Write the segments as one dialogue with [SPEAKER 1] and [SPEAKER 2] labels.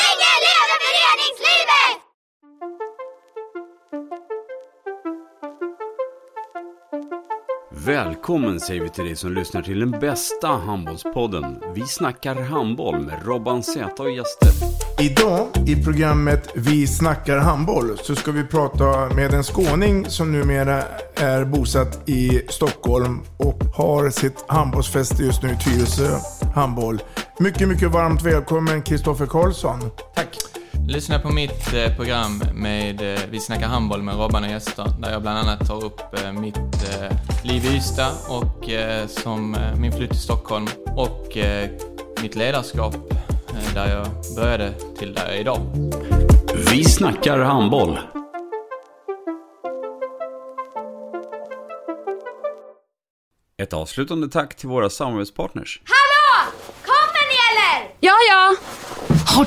[SPEAKER 1] Länge leve föreningslivet!
[SPEAKER 2] Välkommen säger vi till dig som lyssnar till den bästa handbollspodden. Vi snackar handboll med Robban Z och gäster.
[SPEAKER 3] Idag i programmet Vi snackar handboll så ska vi prata med en skåning som numera är bosatt i Stockholm och har sitt handbollsfäste just nu i Tyresö handboll. Mycket, mycket varmt välkommen Kristoffer Karlsson.
[SPEAKER 4] Tack. Lyssna på mitt eh, program med eh, Vi snackar handboll med Robban och gäster där jag bland annat tar upp eh, mitt eh, liv i Ystad och eh, som, eh, min flytt till Stockholm och eh, mitt ledarskap eh, där jag började till där jag är idag.
[SPEAKER 2] Vi snackar handboll. Ett avslutande tack till våra samarbetspartners.
[SPEAKER 1] Hallå! Kommer ni eller?
[SPEAKER 5] Ja, ja. Har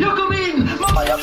[SPEAKER 6] Jag kom in! Mamma, jag